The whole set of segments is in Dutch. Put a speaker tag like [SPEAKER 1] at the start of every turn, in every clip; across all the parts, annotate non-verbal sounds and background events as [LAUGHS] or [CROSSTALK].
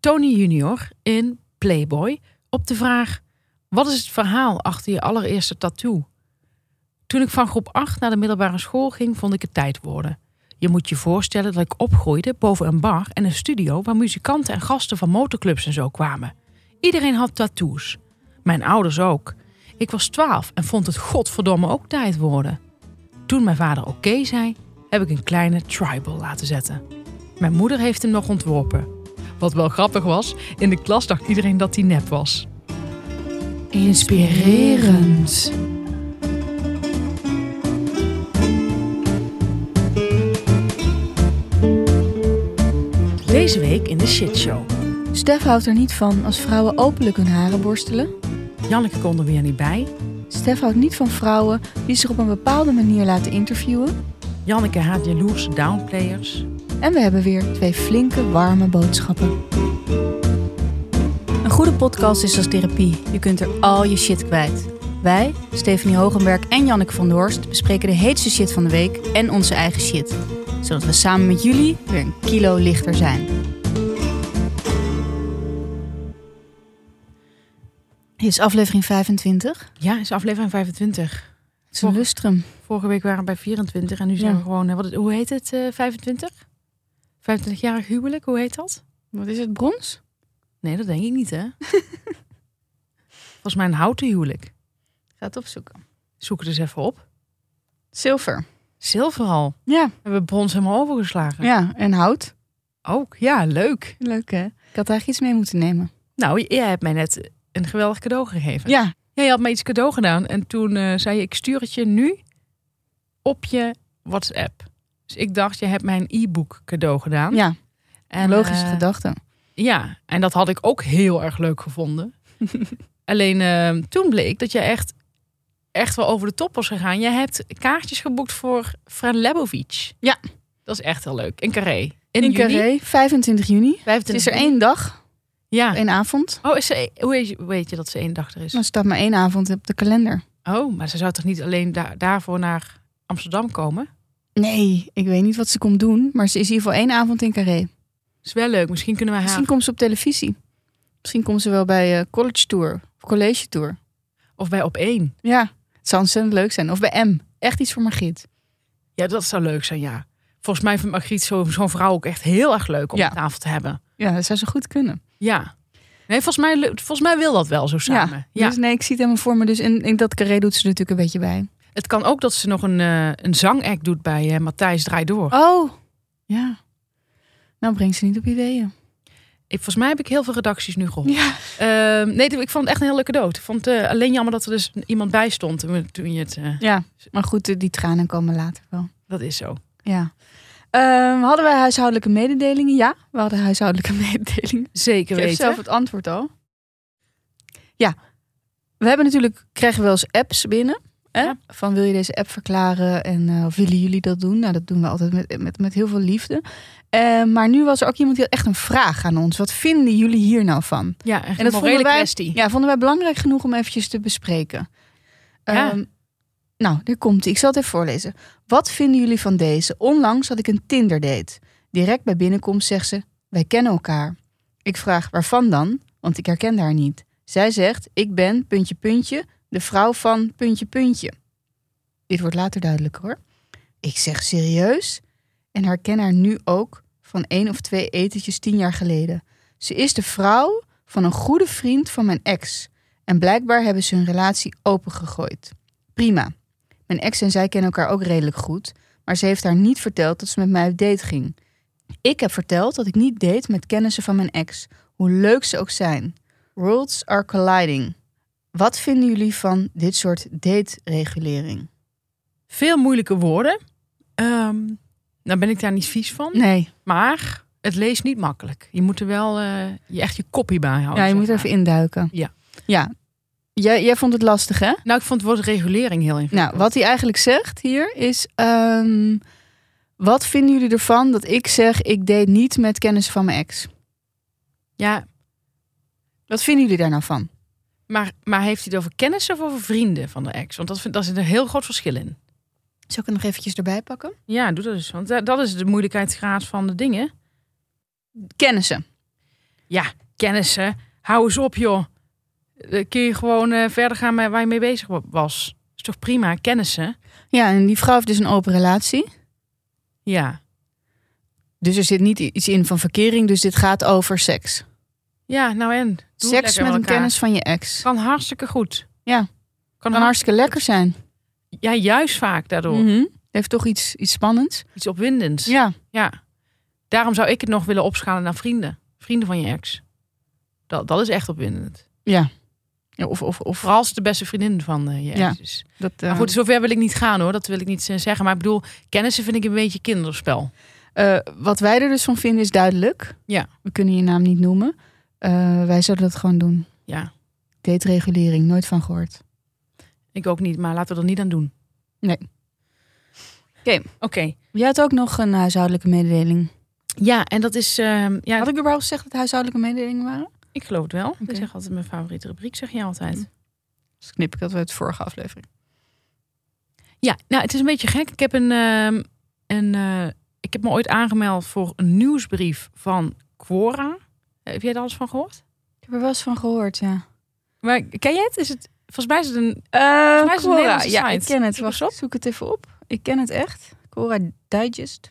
[SPEAKER 1] Tony Junior in Playboy op de vraag: wat is het verhaal achter je allereerste tattoo? Toen ik van groep 8 naar de middelbare school ging, vond ik het tijd worden. Je moet je voorstellen dat ik opgroeide boven een bar en een studio waar muzikanten en gasten van motorclubs en zo kwamen. Iedereen had tattoos. Mijn ouders ook. Ik was 12 en vond het godverdomme ook tijd worden. Toen mijn vader oké zei, heb ik een kleine tribal laten zetten. Mijn moeder heeft hem nog ontworpen. Wat wel grappig was, in de klas dacht iedereen dat hij nep was.
[SPEAKER 2] Inspirerend.
[SPEAKER 1] Deze week in de shitshow.
[SPEAKER 2] Stef houdt er niet van als vrouwen openlijk hun haren borstelen.
[SPEAKER 1] Janneke kon er weer niet bij.
[SPEAKER 2] Stef houdt niet van vrouwen die zich op een bepaalde manier laten interviewen.
[SPEAKER 1] Janneke haat jaloerse downplayers.
[SPEAKER 2] En we hebben weer twee flinke, warme boodschappen. Een goede podcast is als therapie. Je kunt er al je shit kwijt. Wij, Stephanie Hogenberg en Janneke van der Horst, bespreken de heetste shit van de week en onze eigen shit. Zodat we samen met jullie weer een kilo lichter zijn. Dit is aflevering 25.
[SPEAKER 1] Ja, is aflevering 25.
[SPEAKER 2] Het is een
[SPEAKER 1] Och.
[SPEAKER 2] lustrum.
[SPEAKER 1] Vorige week waren we bij 24 en nu zijn
[SPEAKER 2] Ja.
[SPEAKER 1] we gewoon... eh, Wat, het- hoe heet het? eh, 25? 25-jarig huwelijk, hoe heet dat?
[SPEAKER 2] Wat is het, brons?
[SPEAKER 1] Nee, dat denk ik niet, [LAUGHS] hè? Volgens mij een houten huwelijk.
[SPEAKER 2] Ga het opzoeken.
[SPEAKER 1] Zoek het eens even op.
[SPEAKER 2] Zilver.
[SPEAKER 1] Zilver al.
[SPEAKER 2] Ja,
[SPEAKER 1] Hebben we brons helemaal overgeslagen.
[SPEAKER 2] ja, en hout.
[SPEAKER 1] Ook, ja, leuk.
[SPEAKER 2] Leuk hè? Ik had eigenlijk iets mee moeten nemen.
[SPEAKER 1] Nou, jij hebt mij net een geweldig cadeau gegeven.
[SPEAKER 2] Ja,
[SPEAKER 1] Ja, je had me iets cadeau gedaan en toen eh, zei je, ik stuur het je nu op je WhatsApp. Dus ik dacht, je hebt mij een e-book cadeau gedaan.
[SPEAKER 2] ja.
[SPEAKER 1] en,
[SPEAKER 2] logische
[SPEAKER 1] eh,
[SPEAKER 2] gedachte.
[SPEAKER 1] Ja, en dat had ik ook heel erg leuk
[SPEAKER 2] [LAUGHS]
[SPEAKER 1] gevonden. Alleen eh, toen bleek dat je echt, echt wel over de top was gegaan. Je hebt kaartjes geboekt voor Fran Lebovic.
[SPEAKER 2] Ja.
[SPEAKER 1] Dat is echt heel leuk. In Carré. In,
[SPEAKER 2] In
[SPEAKER 1] juli.
[SPEAKER 2] Carré, 25 juni. Dus Ah.
[SPEAKER 1] 25.
[SPEAKER 2] Het is er één dag,
[SPEAKER 1] Ja.
[SPEAKER 2] één avond.
[SPEAKER 1] Oh, is ze, hoe weet je, weet je dat ze één dag er is?
[SPEAKER 2] Dan staat maar één avond op de kalender.
[SPEAKER 1] Oh, maar ze zou toch niet alleen da- daarvoor naar Amsterdam komen?
[SPEAKER 2] Nee, ik weet niet wat ze komt doen, maar ze is in ieder geval één avond in Carré.
[SPEAKER 1] Is wel leuk. Misschien kunnen we haar...
[SPEAKER 2] Misschien komt ze op televisie. Misschien komt ze wel bij eh, College Tour of College Tour.
[SPEAKER 1] Of bij op één.
[SPEAKER 2] Ja, het zou ontzettend leuk zijn. Of bij M. Echt iets voor Margriet.
[SPEAKER 1] Ja, dat zou leuk zijn, ja. Volgens mij vindt Margriet zo- zo'n vrouw ook echt heel erg leuk om
[SPEAKER 2] Ja.
[SPEAKER 1] aan tafel te hebben.
[SPEAKER 2] Ja, dat zou ze goed kunnen.
[SPEAKER 1] Ja. Nee, volgens mij, volgens mij wil dat wel zo samen. Ja.
[SPEAKER 2] Dus nee, ik zie het helemaal voor me. Dus in, in dat Carré doet ze er natuurlijk een beetje bij.
[SPEAKER 1] Het kan ook dat ze nog een, eh een zangact doet bij eh, Matthijs Draai Door.
[SPEAKER 2] Oh, ja. Nou, breng ze niet op ideeën.
[SPEAKER 1] Ik, volgens mij heb ik heel veel redacties nu geholpen.
[SPEAKER 2] Ja.
[SPEAKER 1] Ehm, nee, ik vond het echt een heel leuke dood. Ik vond het eh, alleen jammer dat er dus iemand bij stond toen- toen je het... eh,
[SPEAKER 2] ja, maar goed, eh, die tranen komen later wel.
[SPEAKER 1] dat is zo.
[SPEAKER 2] Ja. Ehm, hadden wij huishoudelijke mededelingen? Ja, we hadden huishoudelijke [LAUGHS] mededelingen.
[SPEAKER 1] Zeker
[SPEAKER 2] Ik geef
[SPEAKER 1] weten.
[SPEAKER 2] zelf het antwoord al. Ja, we hebben natuurlijk, krijgen wel eens apps binnen. Hè?
[SPEAKER 1] Ja.
[SPEAKER 2] Van wil je deze app verklaren en eh, of willen jullie dat doen? Nou, dat doen we altijd met, met, met heel veel liefde. Eh, maar nu was er ook iemand die had echt een vraag aan ons. Wat vinden jullie hier nou van?
[SPEAKER 1] Ja, echt
[SPEAKER 2] En
[SPEAKER 1] en
[SPEAKER 2] dat
[SPEAKER 1] een
[SPEAKER 2] vonden
[SPEAKER 1] morele
[SPEAKER 2] wij,
[SPEAKER 1] kwestie.
[SPEAKER 2] ja, vonden wij belangrijk genoeg om eventjes te bespreken.
[SPEAKER 1] Ja.
[SPEAKER 2] Ehm, nou, daar komt ie. Ik zal het even voorlezen. Wat vinden jullie van deze? Onlangs had ik een Tinder date. Direct bij binnenkomst zegt ze, wij kennen elkaar. Ik vraag, waarvan dan? Want ik herken haar niet. Zij zegt, ik ben, puntje, puntje, de vrouw van, puntje, puntje. Dit wordt later duidelijk hoor. Ik zeg serieus en herken haar nu ook van één of twee etentjes tien jaar geleden. Ze is de vrouw van een goede vriend van mijn ex. En blijkbaar hebben ze hun relatie opengegooid. Prima. Mijn ex en zij kennen elkaar ook redelijk goed, maar ze heeft haar niet verteld dat ze met mij op date ging. Ik heb verteld dat ik niet date met kennissen van mijn ex, hoe leuk ze ook zijn. Worlds are colliding. Wat vinden jullie van dit soort date-regulering?
[SPEAKER 1] Veel moeilijke woorden. Ehm nou ben ik daar niet vies van.
[SPEAKER 2] Nee,
[SPEAKER 1] Maar het leest niet makkelijk. Je moet er wel eh, je echt je kopie bij houden.
[SPEAKER 2] ja, je
[SPEAKER 1] Oh, zeg
[SPEAKER 2] moet er
[SPEAKER 1] maar.
[SPEAKER 2] even induiken.
[SPEAKER 1] Ja.
[SPEAKER 2] ja. Jij, jij vond het lastig, hè?
[SPEAKER 1] Nou, ik vond het woord regulering heel ingewikkeld.
[SPEAKER 2] Nou, wat hij eigenlijk zegt hier is: ehm, Wat vinden jullie ervan dat ik zeg ik deed niet met kennis van mijn ex?
[SPEAKER 1] Ja,
[SPEAKER 2] Wat vinden jullie daar nou van?
[SPEAKER 1] Maar, maar heeft hij het over kennissen of over vrienden van de ex? Want dat, vind, daar zit een heel groot verschil in.
[SPEAKER 2] Zal ik het nog eventjes erbij pakken?
[SPEAKER 1] Ja, doe dat eens. Want da- dat is de moeilijkheidsgraad van de dingen.
[SPEAKER 2] Kennissen.
[SPEAKER 1] Ja, kennissen. Hou eens op, joh. Eh, kun je gewoon eh, verder gaan met waar je mee bezig wa- was. Is toch prima, kennissen?
[SPEAKER 2] Ja, en die vrouw heeft dus een open relatie.
[SPEAKER 1] Ja.
[SPEAKER 2] Dus er zit niet iets in van verkering. Dus dit gaat over seks.
[SPEAKER 1] Ja, nou en? Doe het
[SPEAKER 2] seks
[SPEAKER 1] lekker
[SPEAKER 2] met een
[SPEAKER 1] elkaar.
[SPEAKER 2] kennis van je ex.
[SPEAKER 1] Kan hartstikke goed.
[SPEAKER 2] Ja.
[SPEAKER 1] Kan
[SPEAKER 2] Kan
[SPEAKER 1] hartstikke...
[SPEAKER 2] hartstikke lekker zijn.
[SPEAKER 1] Ja, juist vaak daardoor.
[SPEAKER 2] Mhm. Heeft toch iets, iets spannends?
[SPEAKER 1] Iets opwindends.
[SPEAKER 2] Ja.
[SPEAKER 1] Ja. Daarom zou ik het nog willen opschalen naar vrienden. Vrienden van je ex. Dat, dat is echt opwindend.
[SPEAKER 2] Ja, Of, of, of
[SPEAKER 1] Vooral als het de beste vriendin van eh, je ex
[SPEAKER 2] Ja.
[SPEAKER 1] is.
[SPEAKER 2] dat, eh,
[SPEAKER 1] Maar goed, zover wil ik niet gaan hoor. Dat wil ik niet eh, zeggen. Maar ik bedoel, kennissen vind ik een beetje kinderspel.
[SPEAKER 2] eh, wat wij er dus van vinden is duidelijk.
[SPEAKER 1] Ja.
[SPEAKER 2] We kunnen je naam niet noemen. Eh, wij zouden dat gewoon doen.
[SPEAKER 1] Ja,
[SPEAKER 2] Dateregulering, nooit van gehoord.
[SPEAKER 1] ik ook niet. Maar laten we er niet aan doen.
[SPEAKER 2] Nee. Oké.
[SPEAKER 1] Oké.
[SPEAKER 2] Jij had ook nog een huishoudelijke mededeling.
[SPEAKER 1] Ja, en dat is... ehm, ja,
[SPEAKER 2] Had ik überhaupt gezegd dat huishoudelijke mededelingen waren?
[SPEAKER 1] ik geloof het wel.
[SPEAKER 2] Oké.
[SPEAKER 1] Ik zeg altijd mijn favoriete rubriek, zeg je altijd.
[SPEAKER 2] Dus knip ik dat uit de vorige aflevering.
[SPEAKER 1] Ja, nou, het is een beetje gek. Ik heb een, ehm, een eh, ik heb me ooit aangemeld voor een nieuwsbrief van Quora. Eh, Heb jij daar alles van gehoord?
[SPEAKER 2] Ik heb er wel eens van gehoord, ja.
[SPEAKER 1] Maar ken jij het? Is het volgens mij is het een.
[SPEAKER 2] Eh
[SPEAKER 1] mij is het een Nederlandse
[SPEAKER 2] ja, ik
[SPEAKER 1] site.
[SPEAKER 2] ken het.
[SPEAKER 1] Zoek
[SPEAKER 2] Wacht,
[SPEAKER 1] eens
[SPEAKER 2] op. zoek het even op. Ik ken het echt. Quora Digest.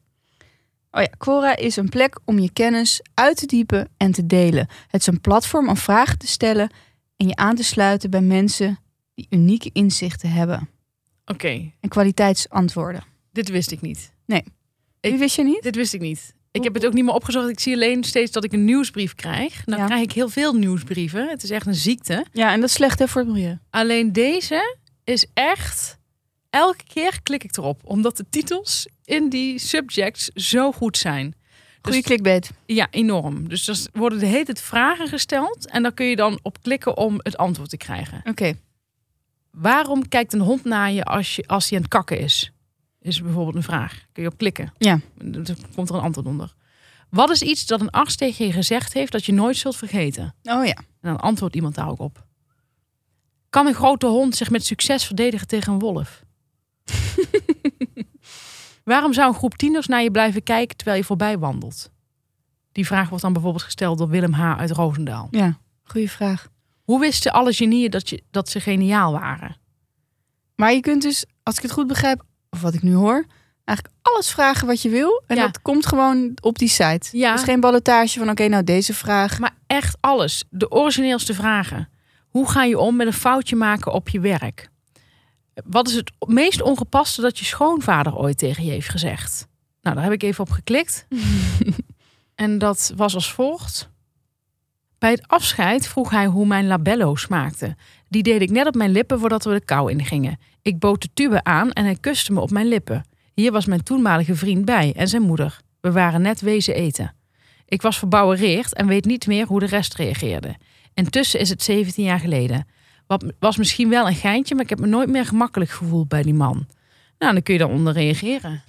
[SPEAKER 2] Oh ja, Quora is een plek om je kennis uit te diepen en te delen. Het is een platform om vragen te stellen en je aan te sluiten bij mensen die unieke inzichten hebben
[SPEAKER 1] Oké,
[SPEAKER 2] en kwaliteitsantwoorden.
[SPEAKER 1] dit wist ik niet. Ik-
[SPEAKER 2] Die wist je niet?
[SPEAKER 1] Dit wist ik niet. Ik heb het ook niet meer opgezocht. Ik zie alleen steeds dat ik een nieuwsbrief krijg. Dan
[SPEAKER 2] Ja.
[SPEAKER 1] krijg ik heel veel nieuwsbrieven. Het is echt een ziekte.
[SPEAKER 2] Ja, en dat is slecht hè, voor het milieu.
[SPEAKER 1] Alleen deze is echt. Elke keer klik ik erop, omdat de titels in die subjects zo goed zijn. Dus-
[SPEAKER 2] Goeie clickbait.
[SPEAKER 1] Ja, enorm. Dus er worden de hele tijd vragen gesteld. En dan kun je dan op klikken om het antwoord te krijgen.
[SPEAKER 2] Oké.
[SPEAKER 1] Waarom kijkt een hond naar je als, je, als hij aan het kakken is? Is bijvoorbeeld een vraag. Kun je op klikken.
[SPEAKER 2] Ja.
[SPEAKER 1] Dan komt er een antwoord onder. Wat is iets dat een arts tegen je gezegd heeft dat je nooit zult vergeten?
[SPEAKER 2] Oh ja.
[SPEAKER 1] En dan antwoordt iemand daar ook op. Kan een grote hond zich met succes verdedigen tegen een wolf? Waarom zou een groep tieners naar je blijven kijken terwijl je voorbij wandelt? Die vraag wordt dan bijvoorbeeld gesteld door Willem H. uit Roosendaal.
[SPEAKER 2] Ja, goede vraag.
[SPEAKER 1] Hoe wisten alle genieën dat, je, dat ze geniaal waren?
[SPEAKER 2] Maar je kunt dus, als ik het goed begrijp, of wat ik nu hoor, eigenlijk alles vragen wat je wil. En
[SPEAKER 1] Ja.
[SPEAKER 2] dat komt gewoon op die site.
[SPEAKER 1] Ja.
[SPEAKER 2] Dus geen ballotage van, oké, nou deze vraag.
[SPEAKER 1] Maar echt alles. De origineelste vragen. Hoe ga je om met een foutje maken op je werk? Wat is het meest ongepaste dat je schoonvader ooit tegen je heeft gezegd? Nou, daar heb ik even op geklikt. en dat was als volgt. Bij het afscheid vroeg hij hoe mijn labello smaakte. Die deed ik net op mijn lippen voordat we de kou ingingen. Ik bood de tube aan en hij kuste me op mijn lippen. Hier was mijn toenmalige vriend bij en zijn moeder. We waren net wezen eten. Ik was verbouwereerd en weet niet meer hoe de rest reageerde. Intussen is het 17 jaar geleden. Wat was misschien wel een geintje, maar ik heb me nooit meer gemakkelijk gevoeld bij die man. Nou, dan kun je daaronder reageren.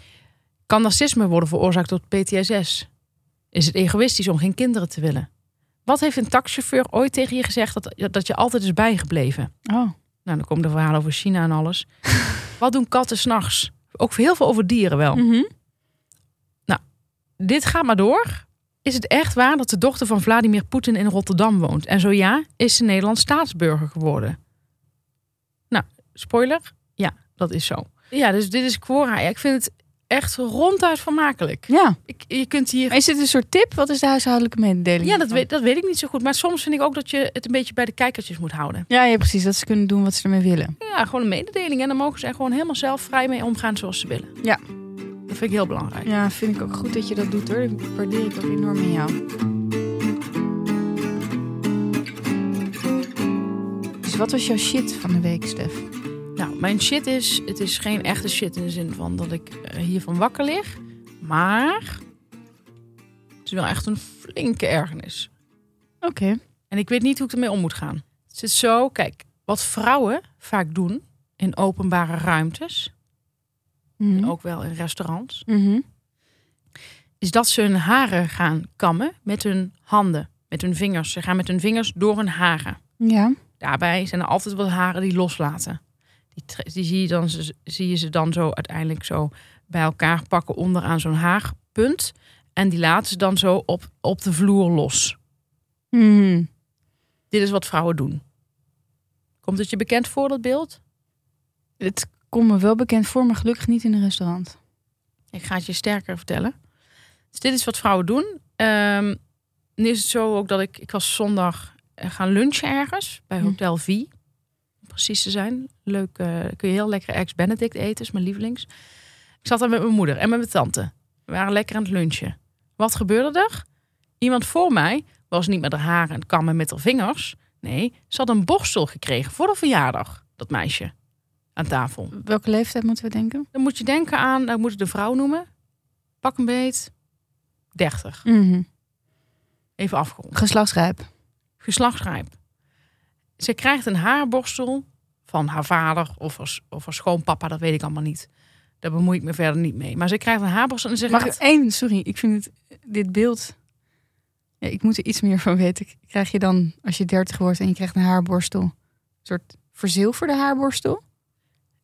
[SPEAKER 1] Kan narcisme worden veroorzaakt door PTSS? Is het egoïstisch om geen kinderen te willen? Wat heeft een taxichauffeur ooit tegen je gezegd dat, dat je altijd is bijgebleven?
[SPEAKER 2] Oh.
[SPEAKER 1] Nou, dan komen de verhalen over China en alles. Wat doen katten s'nachts? Ook heel veel over dieren
[SPEAKER 2] Mhm.
[SPEAKER 1] wel. Dit gaat maar door. Is het echt waar dat de dochter van Vladimir Poetin in Rotterdam woont? En zo ja, is ze Nederlands staatsburger geworden? Nou, spoiler. Ja, dat is zo. Ja, dus dit is Quora. Ja, ik vind het echt ronduit vermakelijk.
[SPEAKER 2] Ja.
[SPEAKER 1] Ik, je kunt hier...
[SPEAKER 2] Maar is dit een soort tip? Wat is de huishoudelijke mededeling?
[SPEAKER 1] Ja, dat
[SPEAKER 2] hiervan?
[SPEAKER 1] weet, dat weet ik niet zo goed. Maar soms vind ik ook dat je het een beetje bij de kijkertjes moet houden.
[SPEAKER 2] Ja, ja, precies. Dat ze kunnen doen wat ze ermee willen.
[SPEAKER 1] Ja, gewoon een mededeling. En dan mogen ze er gewoon helemaal zelf vrij mee omgaan zoals ze willen.
[SPEAKER 2] Ja.
[SPEAKER 1] Dat vind ik heel belangrijk.
[SPEAKER 2] Ja, vind ik ook goed dat je dat doet hoor. Dat waardeer ik ook enorm in jou. Dus wat was jouw shit van de week, Stef?
[SPEAKER 1] Nou, mijn shit is... Het is geen echte shit in de zin van dat ik eh, hiervan wakker lig. Maar... Het is wel echt een flinke ergernis.
[SPEAKER 2] Oké.
[SPEAKER 1] En ik weet niet hoe ik ermee om moet gaan. Het zit zo... Kijk, wat vrouwen vaak doen in openbare ruimtes...
[SPEAKER 2] Mhm. Oh.
[SPEAKER 1] Ook wel in restaurants... Is dat ze hun haren gaan kammen met hun handen. Met hun vingers. Ze gaan met hun vingers door hun haren.
[SPEAKER 2] Ja.
[SPEAKER 1] Daarbij zijn er altijd wat haren die loslaten. Die, tre- die zie, je dan, ze- zie je ze dan zo uiteindelijk zo bij elkaar pakken onderaan zo'n haarpunt. En die laten ze dan zo op, op de vloer los.
[SPEAKER 2] Hmm.
[SPEAKER 1] Dit is wat vrouwen doen. Komt het je bekend voor, dat beeld?
[SPEAKER 2] Het komt me wel bekend voor, maar gelukkig niet in een restaurant.
[SPEAKER 1] Ik ga het je sterker vertellen. Dus dit is wat vrouwen doen. Ehm, nu is het zo ook dat ik... Ik was zondag eh, gaan lunchen ergens bij
[SPEAKER 2] Hm.
[SPEAKER 1] Hotel V. Om precies te zijn. Leuk. eh, kun je heel lekker ex-Benedict eten. is mijn lievelings. Ik zat daar met mijn moeder en met mijn tante. We waren lekker aan het lunchen. Wat gebeurde er? Iemand voor mij was niet met haar haar en kammen met haar vingers. Nee, ze had een borstel gekregen voor de verjaardag. Dat meisje. Aan tafel.
[SPEAKER 2] Welke leeftijd moeten we denken?
[SPEAKER 1] Dan moet je denken aan, dan moet ik de vrouw noemen. Pak een beet. 30. Even afgerond.
[SPEAKER 2] Geslachtsrijp.
[SPEAKER 1] Geslachtsrijp. Ze krijgt een haarborstel van haar vader of haar, s- of haar schoonpapa, dat weet ik allemaal niet. Daar bemoei ik me verder niet mee. Maar ze krijgt een haarborstel en ze
[SPEAKER 2] Mag ik
[SPEAKER 1] gaat...
[SPEAKER 2] één? Sorry, ik vind het, dit beeld... Ja, ik moet er iets meer van weten. Krijg je dan, als je dertig wordt en je krijgt een haarborstel... een soort verzilverde haarborstel?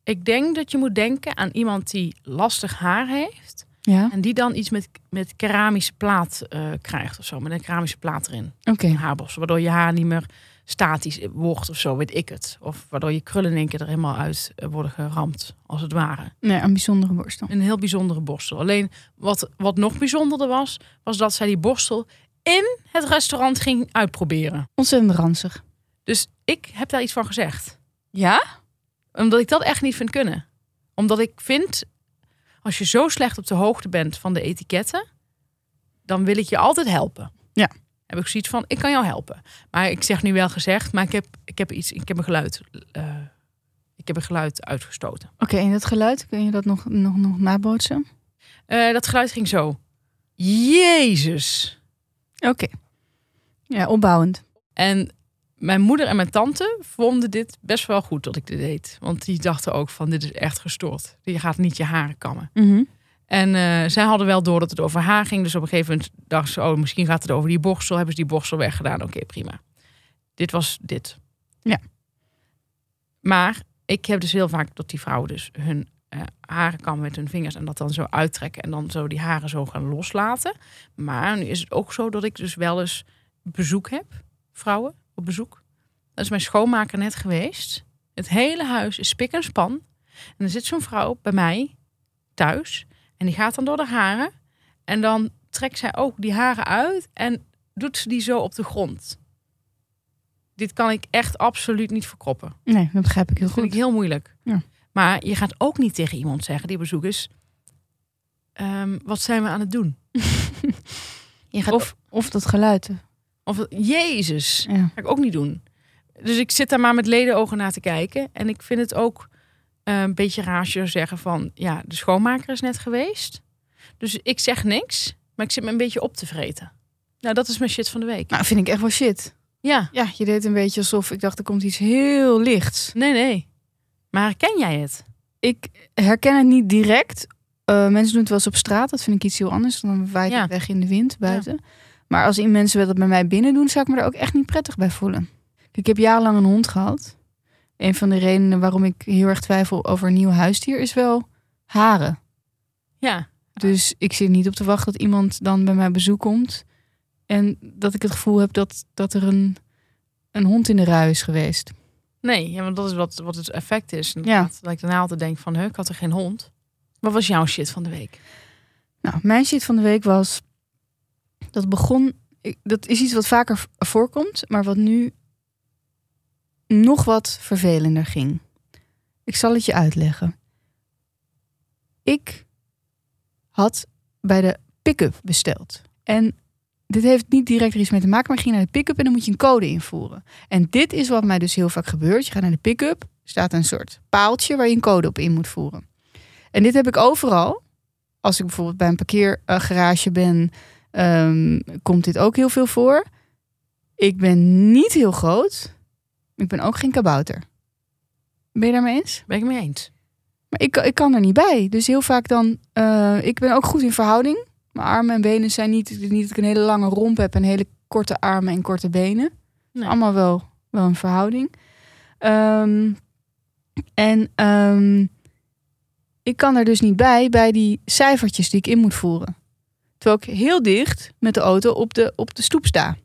[SPEAKER 1] Ik denk dat je moet denken aan iemand die lastig haar heeft.
[SPEAKER 2] Ja.
[SPEAKER 1] En die dan iets met, met keramische plaat eh, krijgt of zo. Met een keramische plaat erin.
[SPEAKER 2] Oké.
[SPEAKER 1] een haarborstel. Waardoor je haar niet meer statisch wordt of zo, weet ik het. Of waardoor je krullen in één keer er helemaal uit eh, worden geramd, als het ware.
[SPEAKER 2] Nee, een bijzondere borstel.
[SPEAKER 1] Een heel bijzondere borstel. Alleen wat, wat nog bijzonderder was, was dat zij die borstel in het restaurant ging uitproberen.
[SPEAKER 2] Ontzettend ranzig.
[SPEAKER 1] Dus ik heb daar iets van gezegd.
[SPEAKER 2] Ja?
[SPEAKER 1] Omdat ik dat echt niet vind kunnen. Omdat ik vind, als je zo slecht op de hoogte bent van de etiketten, dan wil ik je altijd helpen.
[SPEAKER 2] Ja.
[SPEAKER 1] Heb ik zoiets van, ik kan jou helpen. Maar ik zeg nu wel gezegd, maar ik heb, ik heb iets, ik heb een geluid, eh, ik heb een geluid uitgestoten.
[SPEAKER 2] Oké, en dat geluid, kun je dat nog, nog, nog nabootsen?
[SPEAKER 1] Eh, dat geluid ging zo. Jezus.
[SPEAKER 2] Oké. Ja, opbouwend.
[SPEAKER 1] En mijn moeder en mijn tante vonden dit best wel goed dat ik dit deed. Want die dachten ook van, dit is echt gestoord. Je gaat niet je haren kammen. En eh, zij hadden wel door dat het over haar ging. Dus op een gegeven moment dachten ze, oh, misschien gaat het over die borstel. Hebben ze die borstel weggedaan? Oké, prima. Dit was dit.
[SPEAKER 2] Ja.
[SPEAKER 1] Maar ik heb dus heel vaak dat die vrouwen dus hun eh, haren kammen met hun vingers en dat dan zo uittrekken en dan zo die haren zo gaan loslaten. Maar nu is het ook zo dat ik dus wel eens bezoek heb, vrouwen op bezoek. Dat is mijn schoonmaker net geweest. Het hele huis is spik en span. En er zit zo'n vrouw bij mij thuis en die gaat dan door de haren. En dan trekt zij ook die haren uit en doet ze die zo op de grond. Dit kan ik echt absoluut niet verkroppen.
[SPEAKER 2] Nee, dat begrijp ik heel
[SPEAKER 1] Dat vind ik
[SPEAKER 2] goed.
[SPEAKER 1] heel moeilijk.
[SPEAKER 2] Ja.
[SPEAKER 1] Maar je gaat ook niet tegen iemand zeggen die op bezoek is... ehm, wat zijn we aan het doen? je gaat of,
[SPEAKER 2] Of, of dat geluid.
[SPEAKER 1] of Jezus,
[SPEAKER 2] Ja.
[SPEAKER 1] Ga ik ook niet doen. Dus ik zit daar maar met ledenogen naar te kijken. En ik vind het ook eh, een beetje raar als je zou zeggen van... ja, de schoonmaker is net geweest. Dus ik zeg niks, maar ik zit me een beetje op te vreten. Nou, dat is mijn shit van de week.
[SPEAKER 2] Nou, vind ik echt wel shit.
[SPEAKER 1] Ja,
[SPEAKER 2] Ja, je deed een beetje alsof ik dacht, er komt iets heel lichts.
[SPEAKER 1] nee, nee. Maar herken jij het?
[SPEAKER 2] Ik herken het niet direct. Eh, mensen doen het wel eens op straat, dat vind ik iets heel anders. Dan waait
[SPEAKER 1] Ja.
[SPEAKER 2] het weg in de wind buiten. Maar als i- mensen dat bij mij binnen doen, zou ik me daar ook echt niet prettig bij voelen. Kijk, Ik heb jarenlang een hond gehad. Een van de redenen waarom ik heel erg twijfel over een nieuw huisdier is wel haren.
[SPEAKER 1] Ja,
[SPEAKER 2] Dus ik zit niet op te wachten dat iemand dan bij mij bezoek komt. En dat ik het gevoel heb dat, dat er een, een hond in de rui is geweest.
[SPEAKER 1] nee. Ja, want dat is wat, wat het effect is. Ja. Dat ik daarna altijd denk van, huh, ik had er geen hond. Wat was jouw shit van de week?
[SPEAKER 2] Nou, mijn shit van de week was. Dat begon. ik- Dat is iets wat vaker v- voorkomt, maar wat nu nog wat vervelender ging. Ik zal het je uitleggen. Ik had bij de pick-up besteld. En dit heeft niet direct er iets mee te maken, maar ik ging naar de pick-up en dan moet je een code invoeren. En dit is wat mij dus heel vaak gebeurt. Je gaat naar de pick-up, staat een soort paaltje waar je een code op in moet voeren. En dit heb ik overal als ik bijvoorbeeld bij een parkeergarage ben, ehm, komt dit ook heel veel voor. Ik ben niet heel groot. Ik ben ook geen kabouter. Ben je daarmee eens?
[SPEAKER 1] Ben ik het mee eens?
[SPEAKER 2] Maar ik, ik kan er niet bij. Dus heel vaak dan, eh, ik ben ook goed in verhouding. Mijn armen en benen zijn niet, niet dat ik een hele lange romp heb en hele korte armen en korte benen.
[SPEAKER 1] Nee.
[SPEAKER 2] Allemaal wel, wel een verhouding. Ehm, en ehm, ik kan er dus niet bij, bij die cijfertjes die ik in moet voeren. Terwijl ik heel dicht met de auto op de, op de stoep sta.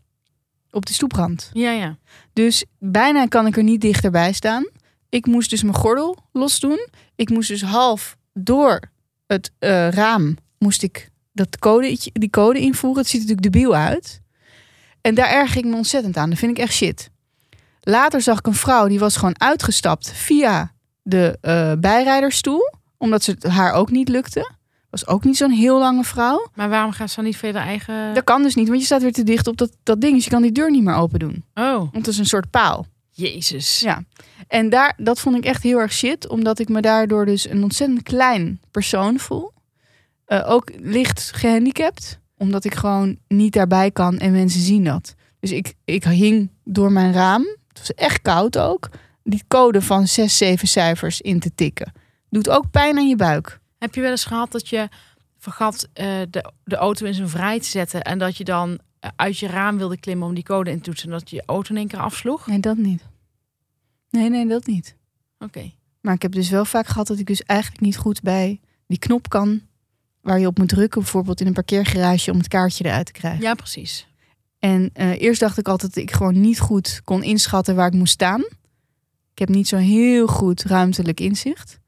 [SPEAKER 2] op de stoeprand.
[SPEAKER 1] Ja, ja.
[SPEAKER 2] Dus bijna kan ik er niet dichterbij staan. Ik moest dus mijn gordel losdoen. Ik moest dus half door het eh, raam moest ik dat code, die code invoeren. Het ziet er natuurlijk debiel uit. En daar erg ik me ontzettend aan. Dat vind ik echt shit. Later zag ik een vrouw die was gewoon uitgestapt via de eh, bijrijderstoel. Omdat ze het haar ook niet lukte. Was ook niet zo'n heel lange vrouw.
[SPEAKER 1] Maar waarom gaat ze dan niet via de eigen...
[SPEAKER 2] Dat kan dus niet, want je staat weer te dicht op dat, dat ding. Dus je kan die deur niet meer open doen.
[SPEAKER 1] Oh,
[SPEAKER 2] Want het is een soort paal.
[SPEAKER 1] jezus.
[SPEAKER 2] Ja. En daar, dat vond ik echt heel erg shit, omdat ik me daardoor dus een ontzettend klein persoon voel. Eh, ook licht gehandicapt, omdat ik gewoon niet daarbij kan en mensen zien dat. Dus ik, ik hing door mijn raam, het was echt koud ook, die code van zes, zeven cijfers in te tikken. Doet ook pijn aan je buik.
[SPEAKER 1] Heb je wel eens gehad dat je vergat eh, de, de auto in zijn vrij te zetten... en dat je dan eh, uit je raam wilde klimmen om die code in te toetsen... en dat je je auto in één keer afsloeg? Oké.
[SPEAKER 2] Nee, dat niet. Nee, nee, dat niet. Maar ik heb dus wel vaak gehad dat ik dus eigenlijk niet goed bij die knop kan... waar je op moet drukken, bijvoorbeeld in een parkeergarage... om het kaartje eruit te krijgen.
[SPEAKER 1] Ja, precies.
[SPEAKER 2] En eh, eerst dacht ik altijd dat ik gewoon niet goed kon inschatten waar ik moest staan. Ik heb niet zo'n heel goed ruimtelijk inzicht.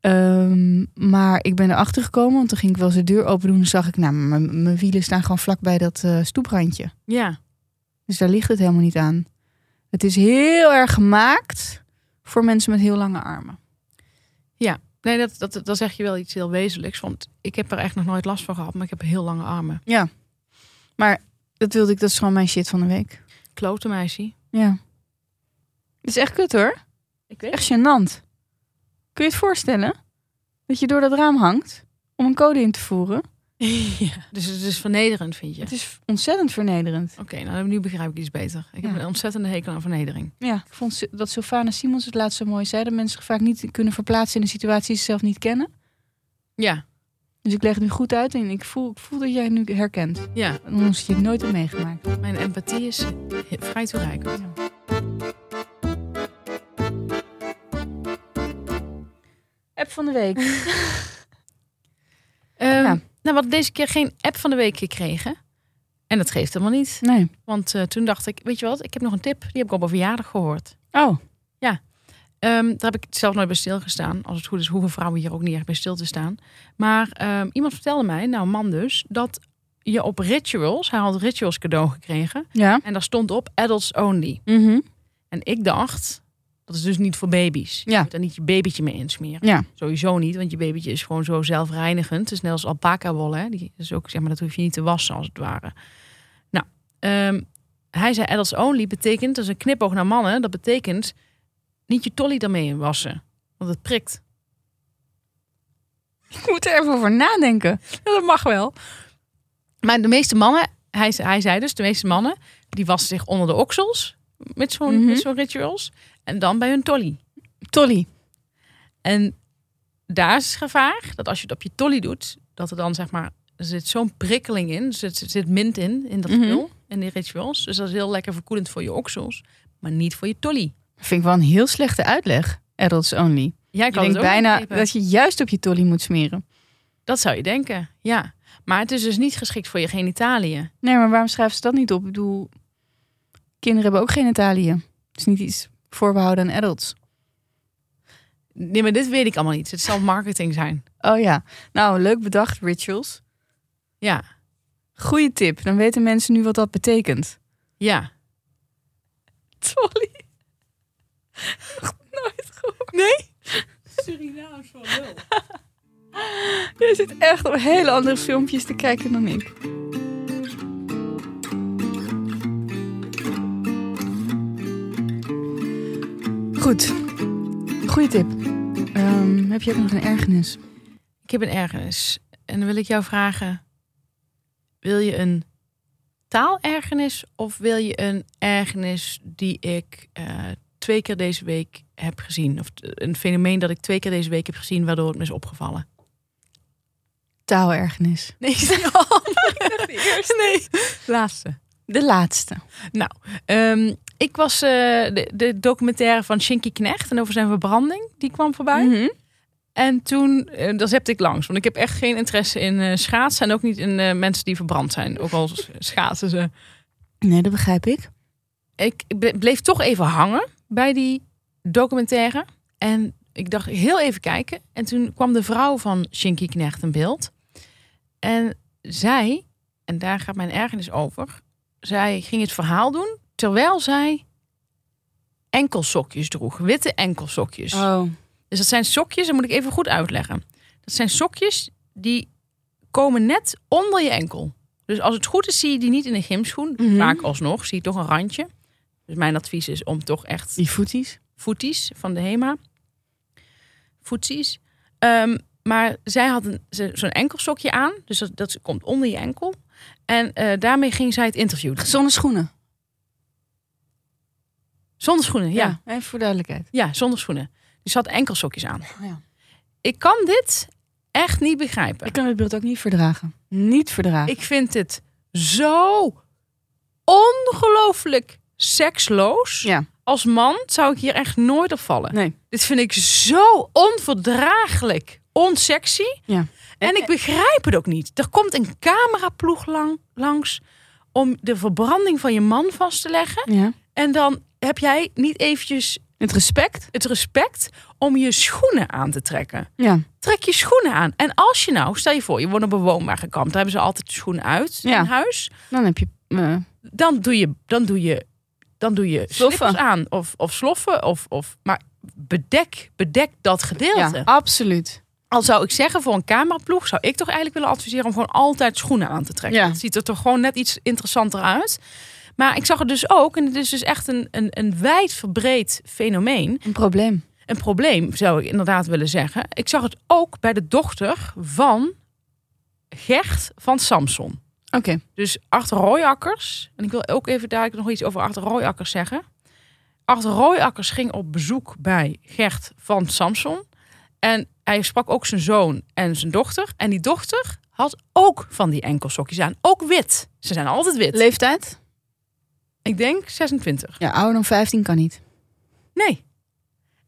[SPEAKER 2] Ehm, maar ik ben erachter gekomen, want toen ging ik wel eens de deur open doen. En zag ik, nou, mijn mijn wielen staan gewoon vlak bij dat eh, stoeprandje.
[SPEAKER 1] Ja.
[SPEAKER 2] Dus daar ligt het helemaal niet aan. Het is heel erg gemaakt voor mensen met heel lange armen.
[SPEAKER 1] Nee, dat, dat, dat zeg je wel iets heel wezenlijks. Want ik heb er echt nog nooit last van gehad, maar ik heb heel lange armen.
[SPEAKER 2] Dat wilde ik, dat is gewoon mijn shit van de week.
[SPEAKER 1] Klote meisje.
[SPEAKER 2] Ja. Het is echt kut hoor.
[SPEAKER 1] Ik weet
[SPEAKER 2] Echt gênant. Kun je het voorstellen? Dat je door dat raam hangt om een code in te voeren.
[SPEAKER 1] [LAUGHS] Ja. Dus het is vernederend, vind je?
[SPEAKER 2] Het is ontzettend vernederend.
[SPEAKER 1] Oké, nou nu begrijp ik iets beter. Ik heb
[SPEAKER 2] Ja.
[SPEAKER 1] een ontzettende hekel aan vernedering.
[SPEAKER 2] Ja, ik vond Sy- dat Sylvana Simons het laatst zo mooi zei. Dat mensen zich vaak niet kunnen verplaatsen in een situatie die ze zelf niet kennen.
[SPEAKER 1] Ja,
[SPEAKER 2] Dus ik leg het nu goed uit en ik voel, ik voel dat jij het nu herkent.
[SPEAKER 1] ja.
[SPEAKER 2] Anders had je het nooit hebt meegemaakt.
[SPEAKER 1] Mijn empathie is he- vrij toereikend.
[SPEAKER 2] App van de week.
[SPEAKER 1] Ehm,
[SPEAKER 2] Ja.
[SPEAKER 1] Nou, we hadden deze keer geen app van de week gekregen. En dat geeft helemaal niet.
[SPEAKER 2] [LAUGHS] Nee.
[SPEAKER 1] Want eh, toen dacht ik, weet je wat, ik heb nog een tip. Die heb ik op een verjaardag gehoord.
[SPEAKER 2] Oh.
[SPEAKER 1] Ehm, daar heb ik zelf nooit bij stilgestaan. Als het goed is, hoeven vrouwen hier ook niet echt bij stil te staan. Maar ehm, iemand vertelde mij, nou een man dus, dat je op rituals, hij had rituals cadeau gekregen.
[SPEAKER 2] Ja. Mhm.
[SPEAKER 1] En daar stond op adults only. En ik dacht, dat is dus niet voor baby's. Je
[SPEAKER 2] Ja.
[SPEAKER 1] moet daar niet je babytje mee insmeren.
[SPEAKER 2] Ja.
[SPEAKER 1] Sowieso niet, want je babytje is gewoon zo zelfreinigend. Het is net als alpaca wol, hè. Die is ook, zeg maar, dat hoef je niet te wassen als het ware. Nou, ehm, hij zei adults only betekent, dat is een knipoog naar mannen, dat betekent niet je tolly daarmee in wassen. Want het prikt.
[SPEAKER 2] Ik moet er even over nadenken.
[SPEAKER 1] Ja, dat mag wel. Maar de meeste mannen, hij, ze- hij zei dus, de meeste mannen, die wassen zich onder de oksels met zo'n
[SPEAKER 2] Mhm.
[SPEAKER 1] met zo'n rituals. En dan bij hun tolly.
[SPEAKER 2] Tolly.
[SPEAKER 1] En daar is het gevaar dat als je het op je tolly doet, dat er dan zeg maar, er zit zo'n prikkeling in, er zit, er zit mint in, in dat
[SPEAKER 2] Mhm.
[SPEAKER 1] spul, in die rituals. Dus dat is heel lekker verkoelend voor je oksels, maar niet voor je tolly.
[SPEAKER 2] Vind ik wel een heel slechte uitleg. Adults only.
[SPEAKER 1] Jij
[SPEAKER 2] Ik
[SPEAKER 1] kan het
[SPEAKER 2] denk
[SPEAKER 1] ook
[SPEAKER 2] bijna
[SPEAKER 1] begrijpen.
[SPEAKER 2] dat je juist op je tolly moet smeren.
[SPEAKER 1] Dat zou je denken, ja. Maar het is dus niet geschikt voor je genitaliën.
[SPEAKER 2] Nee, maar waarom schrijven ze dat niet op? Ik bedoel, kinderen hebben ook genitaliën. Het is niet iets voorbehouden aan adults.
[SPEAKER 1] Nee, maar dit weet ik allemaal niet. Het zal marketing zijn.
[SPEAKER 2] Oh ja, nou leuk bedacht, rituals.
[SPEAKER 1] Ja,
[SPEAKER 2] Goeie tip, dan weten mensen nu wat dat betekent. [LAUGHS]
[SPEAKER 1] ja.
[SPEAKER 2] Tolly. Nooit gehoord. Nee?
[SPEAKER 1] Surinaams van wel.
[SPEAKER 2] Jij zit echt op hele andere filmpjes te kijken dan ik. Goed. Goeie tip. Ehm, heb je ook nog een ergernis?
[SPEAKER 1] Ik heb een ergernis. En dan wil ik jou vragen: wil je een taalergernis of wil je een ergernis die ik eh, twee keer deze week heb gezien? Of t- een fenomeen dat ik twee keer deze week heb gezien, waardoor het me is opgevallen?
[SPEAKER 2] [LAUGHS] Taalergernis.
[SPEAKER 1] Nee, ik zei al. de eerste. Nee, [LAUGHS] laatste.
[SPEAKER 2] De laatste.
[SPEAKER 1] Ehm, ik was eh, de, de documentaire van Shinky Knecht en over zijn verbranding, die kwam voorbij.
[SPEAKER 2] Mhm.
[SPEAKER 1] En toen, eh, daar zette ik langs. Want ik heb echt geen interesse in eh, schaatsen. En ook niet in eh, mensen die verbrand zijn. Ook al s- schaatsen ze.
[SPEAKER 2] Nee, dat begrijp ik.
[SPEAKER 1] ik ble- bleef toch even hangen bij die documentaire. En ik dacht heel even kijken. En toen kwam de vrouw van Shinky Knecht in beeld. En zij, en daar gaat mijn ergernis over. Zij ging het verhaal doen terwijl zij enkelsokjes droeg. Witte enkelsokjes.
[SPEAKER 2] Oh.
[SPEAKER 1] Dus dat zijn sokjes, dat moet ik even goed uitleggen. Dat zijn sokjes die komen net onder je enkel. Dus als het goed is, zie je die niet in een gymschoen.
[SPEAKER 2] Mhm.
[SPEAKER 1] Vaak alsnog zie je toch een randje. Dus mijn advies is om toch echt
[SPEAKER 2] Die voeties.
[SPEAKER 1] voeties van de HEMA. Voetsies. Ehm, maar zij had een- ze- zo'n enkelsokje aan. Dus dat, dat komt onder je enkel. En eh, daarmee ging zij het interview doen.
[SPEAKER 2] Gezonde schoenen.
[SPEAKER 1] Zonder schoenen, ja.
[SPEAKER 2] Ja, even voor duidelijkheid.
[SPEAKER 1] Ja, zonder schoenen. Dus ze had enkelsokjes aan.
[SPEAKER 2] Ja.
[SPEAKER 1] Ik kan dit echt niet begrijpen.
[SPEAKER 2] Ik kan het beeld ook niet verdragen. Niet verdragen.
[SPEAKER 1] Ik vind het zo ongelooflijk seksloos.
[SPEAKER 2] Ja.
[SPEAKER 1] Als man zou ik hier echt nooit op vallen.
[SPEAKER 2] Nee.
[SPEAKER 1] Dit vind ik zo onverdraaglijk onsexy.
[SPEAKER 2] Ja.
[SPEAKER 1] En ik begrijp het ook niet. Er komt een cameraploeg lang, langs om de verbranding van je man vast te leggen.
[SPEAKER 2] Ja.
[SPEAKER 1] En dan heb jij niet eventjes
[SPEAKER 2] Het respect.
[SPEAKER 1] het respect om je schoenen aan te trekken
[SPEAKER 2] Ja.
[SPEAKER 1] trek je schoenen aan. En als je nou, stel je voor, je wordt op een woonbaar gekampt. Daar hebben ze altijd de schoenen uit
[SPEAKER 2] Ja.
[SPEAKER 1] in huis.
[SPEAKER 2] Dan heb je... eh,
[SPEAKER 1] Dan doe je, dan doe je, dan doe je
[SPEAKER 2] Sloffen.
[SPEAKER 1] slippers aan. Of, of sloffen. Of, of, maar bedek, bedek dat gedeelte.
[SPEAKER 2] ja, absoluut.
[SPEAKER 1] Al zou ik zeggen, voor een cameraploeg zou ik toch eigenlijk willen adviseren om gewoon altijd schoenen aan te trekken.
[SPEAKER 2] Ja.
[SPEAKER 1] Het ziet er toch gewoon net iets interessanter uit. Maar ik zag het dus ook, en het is dus echt een, een, een wijdverbreed fenomeen
[SPEAKER 2] Een probleem.
[SPEAKER 1] een probleem, zou ik inderdaad willen zeggen. Ik zag het ook bij de dochter van Gert van Samson.
[SPEAKER 2] Oké.
[SPEAKER 1] Dus Art Rooijakkers. En ik wil ook even dadelijk nog iets over Art Rooijakkers zeggen. Art Rooijakkers ging op bezoek bij Gert van Samson. En hij sprak ook zijn zoon en zijn dochter. En die dochter had ook van die enkelsokjes aan. Ook wit. Ze zijn altijd wit.
[SPEAKER 2] Leeftijd?
[SPEAKER 1] Ik denk 26.
[SPEAKER 2] Ja, ouder dan 15 kan niet.
[SPEAKER 1] Nee.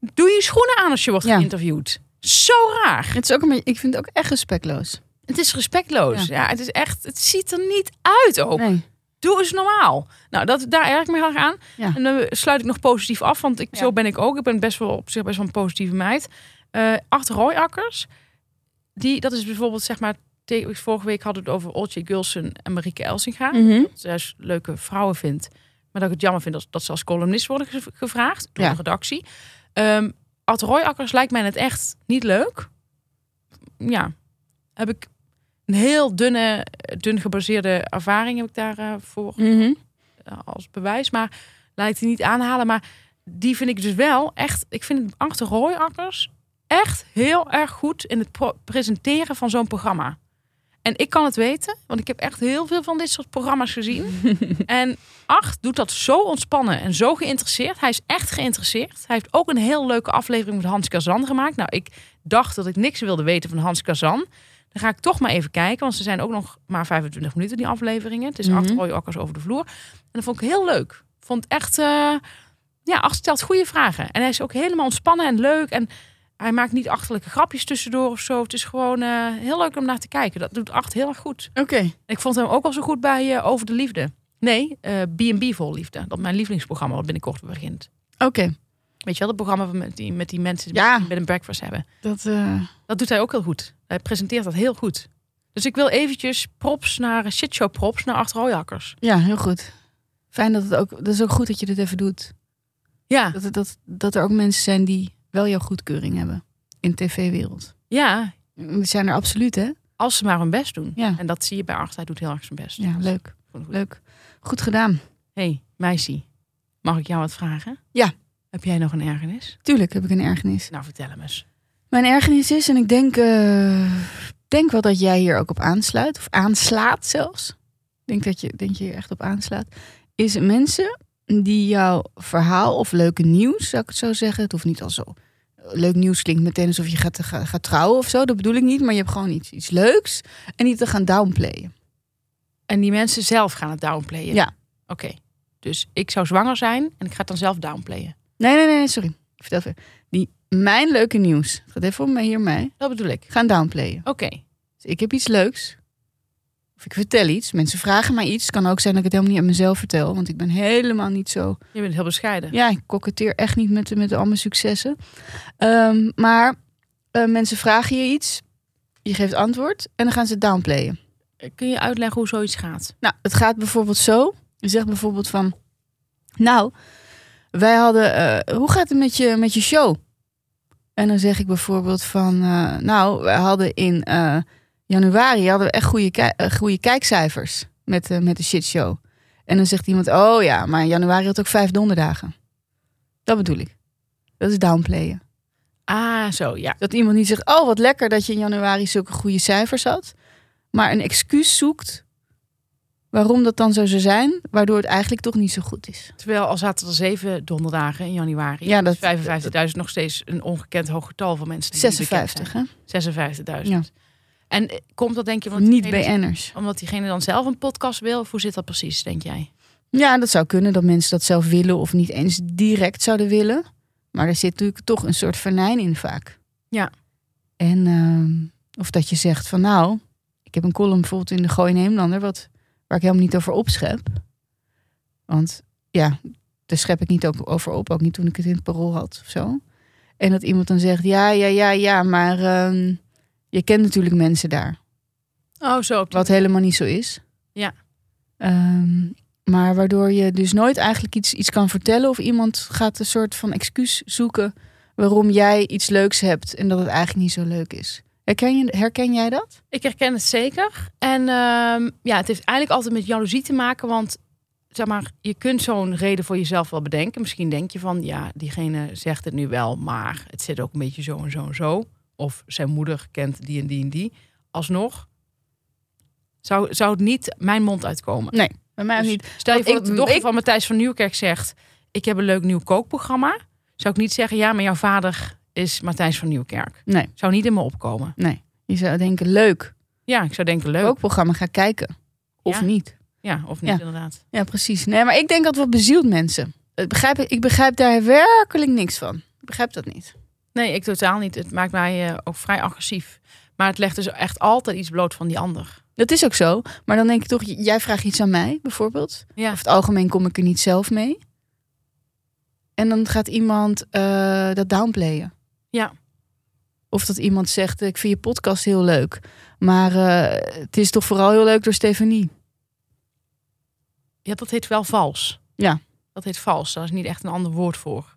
[SPEAKER 1] Doe je schoenen aan als je wordt
[SPEAKER 2] Ja.
[SPEAKER 1] geïnterviewd. Zo raar.
[SPEAKER 2] Het is ook een beetje, ik vind het ook echt respectloos.
[SPEAKER 1] Het is respectloos. Ja. het is echt. Het ziet er niet uit ook.
[SPEAKER 2] Nee.
[SPEAKER 1] Doe eens normaal. Nou, dat, daar erg ik me heel erg aan.
[SPEAKER 2] Ja.
[SPEAKER 1] En dan sluit ik nog positief af, want ik,
[SPEAKER 2] Ja.
[SPEAKER 1] zo ben ik ook. Ik ben best wel op zich best wel een positieve meid. Eh acht rooiakkers. Die, dat is bijvoorbeeld zeg maar. te- Vorige week hadden we het over Oltje Gulsen en Marieke Elsinga.
[SPEAKER 2] Mhm,
[SPEAKER 1] Dat ze juist leuke vrouwen vindt. Maar dat ik het jammer vind dat, dat ze als columnist worden gev- gevraagd door
[SPEAKER 2] Ja.
[SPEAKER 1] de redactie. Ehm Ad Rooijakkers lijkt mij het echt niet leuk. Ja, heb ik een heel dunne, dun gebaseerde ervaring heb ik daarvoor voor
[SPEAKER 2] Mhm.
[SPEAKER 1] eh, als bewijs. Maar laat ik die niet aanhalen. Maar die vind ik dus wel echt... Ik vind Achter Rooijakkers echt heel erg goed in het pro- presenteren van zo'n programma. En ik kan het weten, want ik heb echt heel veel van dit soort programma's gezien. en Acht doet dat zo ontspannen en zo geïnteresseerd. Hij is echt geïnteresseerd. Hij heeft ook een heel leuke aflevering met Hans Kazan gemaakt. Nou, ik dacht dat ik niks wilde weten van Hans Kazan. Dan ga ik toch maar even kijken, want ze zijn ook nog maar 25 minuten, die afleveringen. Het is
[SPEAKER 2] Mhm.
[SPEAKER 1] Acht Rooijakkers over de vloer. En dat vond ik heel leuk. Vond echt, eh, ja, Acht stelt goede vragen. En hij is ook helemaal ontspannen en leuk. En hij maakt niet achterlijke grapjes tussendoor of zo. Het is gewoon eh, heel leuk om naar te kijken. Dat doet Acht heel erg goed.
[SPEAKER 2] Oké.
[SPEAKER 1] Ik vond hem ook al zo goed bij eh, Over de Liefde. Nee, eh, B&B Vol Liefde. Dat mijn lievelingsprogramma wat binnenkort begint.
[SPEAKER 2] Oké.
[SPEAKER 1] Weet je wel, dat programma van met die, met die mensen
[SPEAKER 2] Ja.
[SPEAKER 1] die met een breakfast hebben.
[SPEAKER 2] Dat... eh,
[SPEAKER 1] Dat doet hij ook heel goed. Hij presenteert dat heel goed. Dus ik wil eventjes props naar, shitshow props naar Acht Rooijakkers.
[SPEAKER 2] Ja, heel goed. Fijn dat het ook. Dat is ook goed dat je dit even doet.
[SPEAKER 1] Ja,
[SPEAKER 2] Dat, het- dat, dat er ook mensen zijn die wel jouw goedkeuring hebben in de tv-wereld.
[SPEAKER 1] ja,
[SPEAKER 2] Die zijn er absoluut, hè?
[SPEAKER 1] als ze maar hun best doen.
[SPEAKER 2] Ja.
[SPEAKER 1] En dat zie je bij Acht. Hij doet heel erg zijn best.
[SPEAKER 2] Ja, leuk.
[SPEAKER 1] Vond ik goed.
[SPEAKER 2] Leuk. Goed gedaan.
[SPEAKER 1] hey, meisje. Mag ik jou wat vragen?
[SPEAKER 2] Ja.
[SPEAKER 1] Heb jij nog een ergernis?
[SPEAKER 2] Tuurlijk heb ik een ergernis.
[SPEAKER 1] Nou, vertel hem eens.
[SPEAKER 2] Mijn ergernis is, en ik denk, eh, denk wel dat jij hier ook op aansluit, of aanslaat zelfs. Ik denk dat je, denk je hier echt op aanslaat. Is mensen die jouw verhaal of leuke nieuws, zou ik het zo zeggen. Het hoeft niet al zo. Leuk nieuws klinkt meteen alsof je gaat, gaat, gaat trouwen of zo. Dat bedoel ik niet, maar je hebt gewoon iets, iets leuks. En die te gaan downplayen.
[SPEAKER 1] En die mensen zelf gaan het downplayen?
[SPEAKER 2] Ja.
[SPEAKER 1] Oké. Dus ik zou zwanger zijn en ik ga het dan zelf downplayen.
[SPEAKER 2] Nee, nee, nee, nee, sorry. Ik vertel even. Die mijn leuke nieuws, het gaat even om mij hier mij,
[SPEAKER 1] Dat bedoel ik.
[SPEAKER 2] gaan downplayen.
[SPEAKER 1] Oké.
[SPEAKER 2] Dus ik heb iets leuks. Of ik vertel iets, mensen vragen mij iets. Het kan ook zijn dat ik het helemaal niet aan mezelf vertel. Want ik ben helemaal niet zo...
[SPEAKER 1] Je bent heel bescheiden.
[SPEAKER 2] Ja, ik koketteer echt niet met, met al mijn successen. Ehm, maar eh, mensen vragen je iets. Je geeft antwoord. En dan gaan ze het downplayen.
[SPEAKER 1] Kun je uitleggen hoe zoiets gaat?
[SPEAKER 2] Nou, het gaat bijvoorbeeld zo. Je zegt bijvoorbeeld van... Nou, wij hadden... eh, hoe gaat het met je, met je show? En dan zeg ik bijvoorbeeld van... eh, nou, we hadden in eh, januari hadden we echt goede, kijk- eh, goede kijkcijfers met, eh, met de shitshow. En dan zegt iemand... Oh ja, maar in januari had ook vijf donderdagen. Dat bedoel ik. Dat is downplayen.
[SPEAKER 1] Ah, zo, ja.
[SPEAKER 2] Dat iemand niet zegt, oh wat lekker dat je in januari zulke goede cijfers had. Maar een excuus zoekt waarom dat dan zo zou zijn. Waardoor het eigenlijk toch niet zo goed is.
[SPEAKER 1] Terwijl al zaten er zeven donderdagen in januari.
[SPEAKER 2] Ja, dat-
[SPEAKER 1] is 55.000 nog steeds een ongekend hoog getal van mensen. Die niet bekend
[SPEAKER 2] 56 hè?
[SPEAKER 1] zijn. 56.000.
[SPEAKER 2] Ja.
[SPEAKER 1] En eh, komt dat denk je... Omdat
[SPEAKER 2] Niet
[SPEAKER 1] diegene-
[SPEAKER 2] BN'ers.
[SPEAKER 1] Omdat diegene dan zelf een podcast wil? Of hoe zit dat precies, denk jij?
[SPEAKER 2] Ja, dat zou kunnen dat mensen dat zelf willen of niet eens direct zouden willen. Maar er zit natuurlijk toch een soort vernijn in vaak.
[SPEAKER 1] Ja.
[SPEAKER 2] En ehm, of dat je zegt van nou, ik heb een column bijvoorbeeld in de Gooi Nederlander, wat, waar ik helemaal niet over opschep. Want ja, daar schep ik niet ook over op, ook niet toen ik het in het parool had of zo. En dat iemand dan zegt, ja, ja, ja, ja, maar ehm, je kent natuurlijk mensen daar.
[SPEAKER 1] Oh, zo. op die-
[SPEAKER 2] Wat helemaal niet zo is.
[SPEAKER 1] Ja.
[SPEAKER 2] Ehm, maar waardoor je dus nooit eigenlijk iets, iets kan vertellen. Of iemand gaat een soort van excuus zoeken waarom jij iets leuks hebt en dat het eigenlijk niet zo leuk is. Herken, je, herken jij dat?
[SPEAKER 1] Ik herken het zeker. En ehm, ja, het heeft eigenlijk altijd met jaloezie te maken. Want zeg maar, je kunt zo'n reden voor jezelf wel bedenken. Misschien denk je van, ja, diegene zegt het nu wel, maar het zit ook een beetje zo en zo en zo. Of zijn moeder kent die en die en die. Alsnog zou, zou het niet mijn mond uitkomen.
[SPEAKER 2] Bij mij
[SPEAKER 1] Dus
[SPEAKER 2] niet.
[SPEAKER 1] Stel je
[SPEAKER 2] Want
[SPEAKER 1] voor
[SPEAKER 2] ik-
[SPEAKER 1] dat de dochter
[SPEAKER 2] ik-
[SPEAKER 1] van Matthijs van Nieuwkerk zegt... ik heb een leuk nieuw kookprogramma. Zou ik niet zeggen, ja, maar jouw vader is Matthijs van Nieuwkerk.
[SPEAKER 2] Nee.
[SPEAKER 1] Zou niet in me opkomen.
[SPEAKER 2] Je zou denken, leuk,
[SPEAKER 1] Ja, ik zou denken, leuk.
[SPEAKER 2] kookprogramma, ga kijken. Of
[SPEAKER 1] Ja.
[SPEAKER 2] niet.
[SPEAKER 1] Ja, of niet
[SPEAKER 2] Ja.
[SPEAKER 1] inderdaad.
[SPEAKER 2] Ja, precies. Nee, maar ik denk dat wat bezielt mensen. Het begrijp, ik ik begrijp daar werkelijk niks van. Ik begrijp dat niet.
[SPEAKER 1] Nee, ik totaal niet. Het maakt mij eh, ook vrij agressief. Maar het legt dus echt altijd iets bloot van die ander.
[SPEAKER 2] Dat is ook zo. Maar dan denk ik toch, j- jij vraagt iets aan mij bijvoorbeeld.
[SPEAKER 1] Ja.
[SPEAKER 2] Of het algemeen kom ik er niet zelf mee. En dan gaat iemand eh, dat downplayen.
[SPEAKER 1] Ja.
[SPEAKER 2] Of dat iemand zegt, eh, ik vind je podcast heel leuk. Maar eh, het is toch vooral heel leuk door Stefanie.
[SPEAKER 1] Ja, dat heet wel vals.
[SPEAKER 2] Ja.
[SPEAKER 1] Dat heet vals. Daar is niet echt een ander woord voor.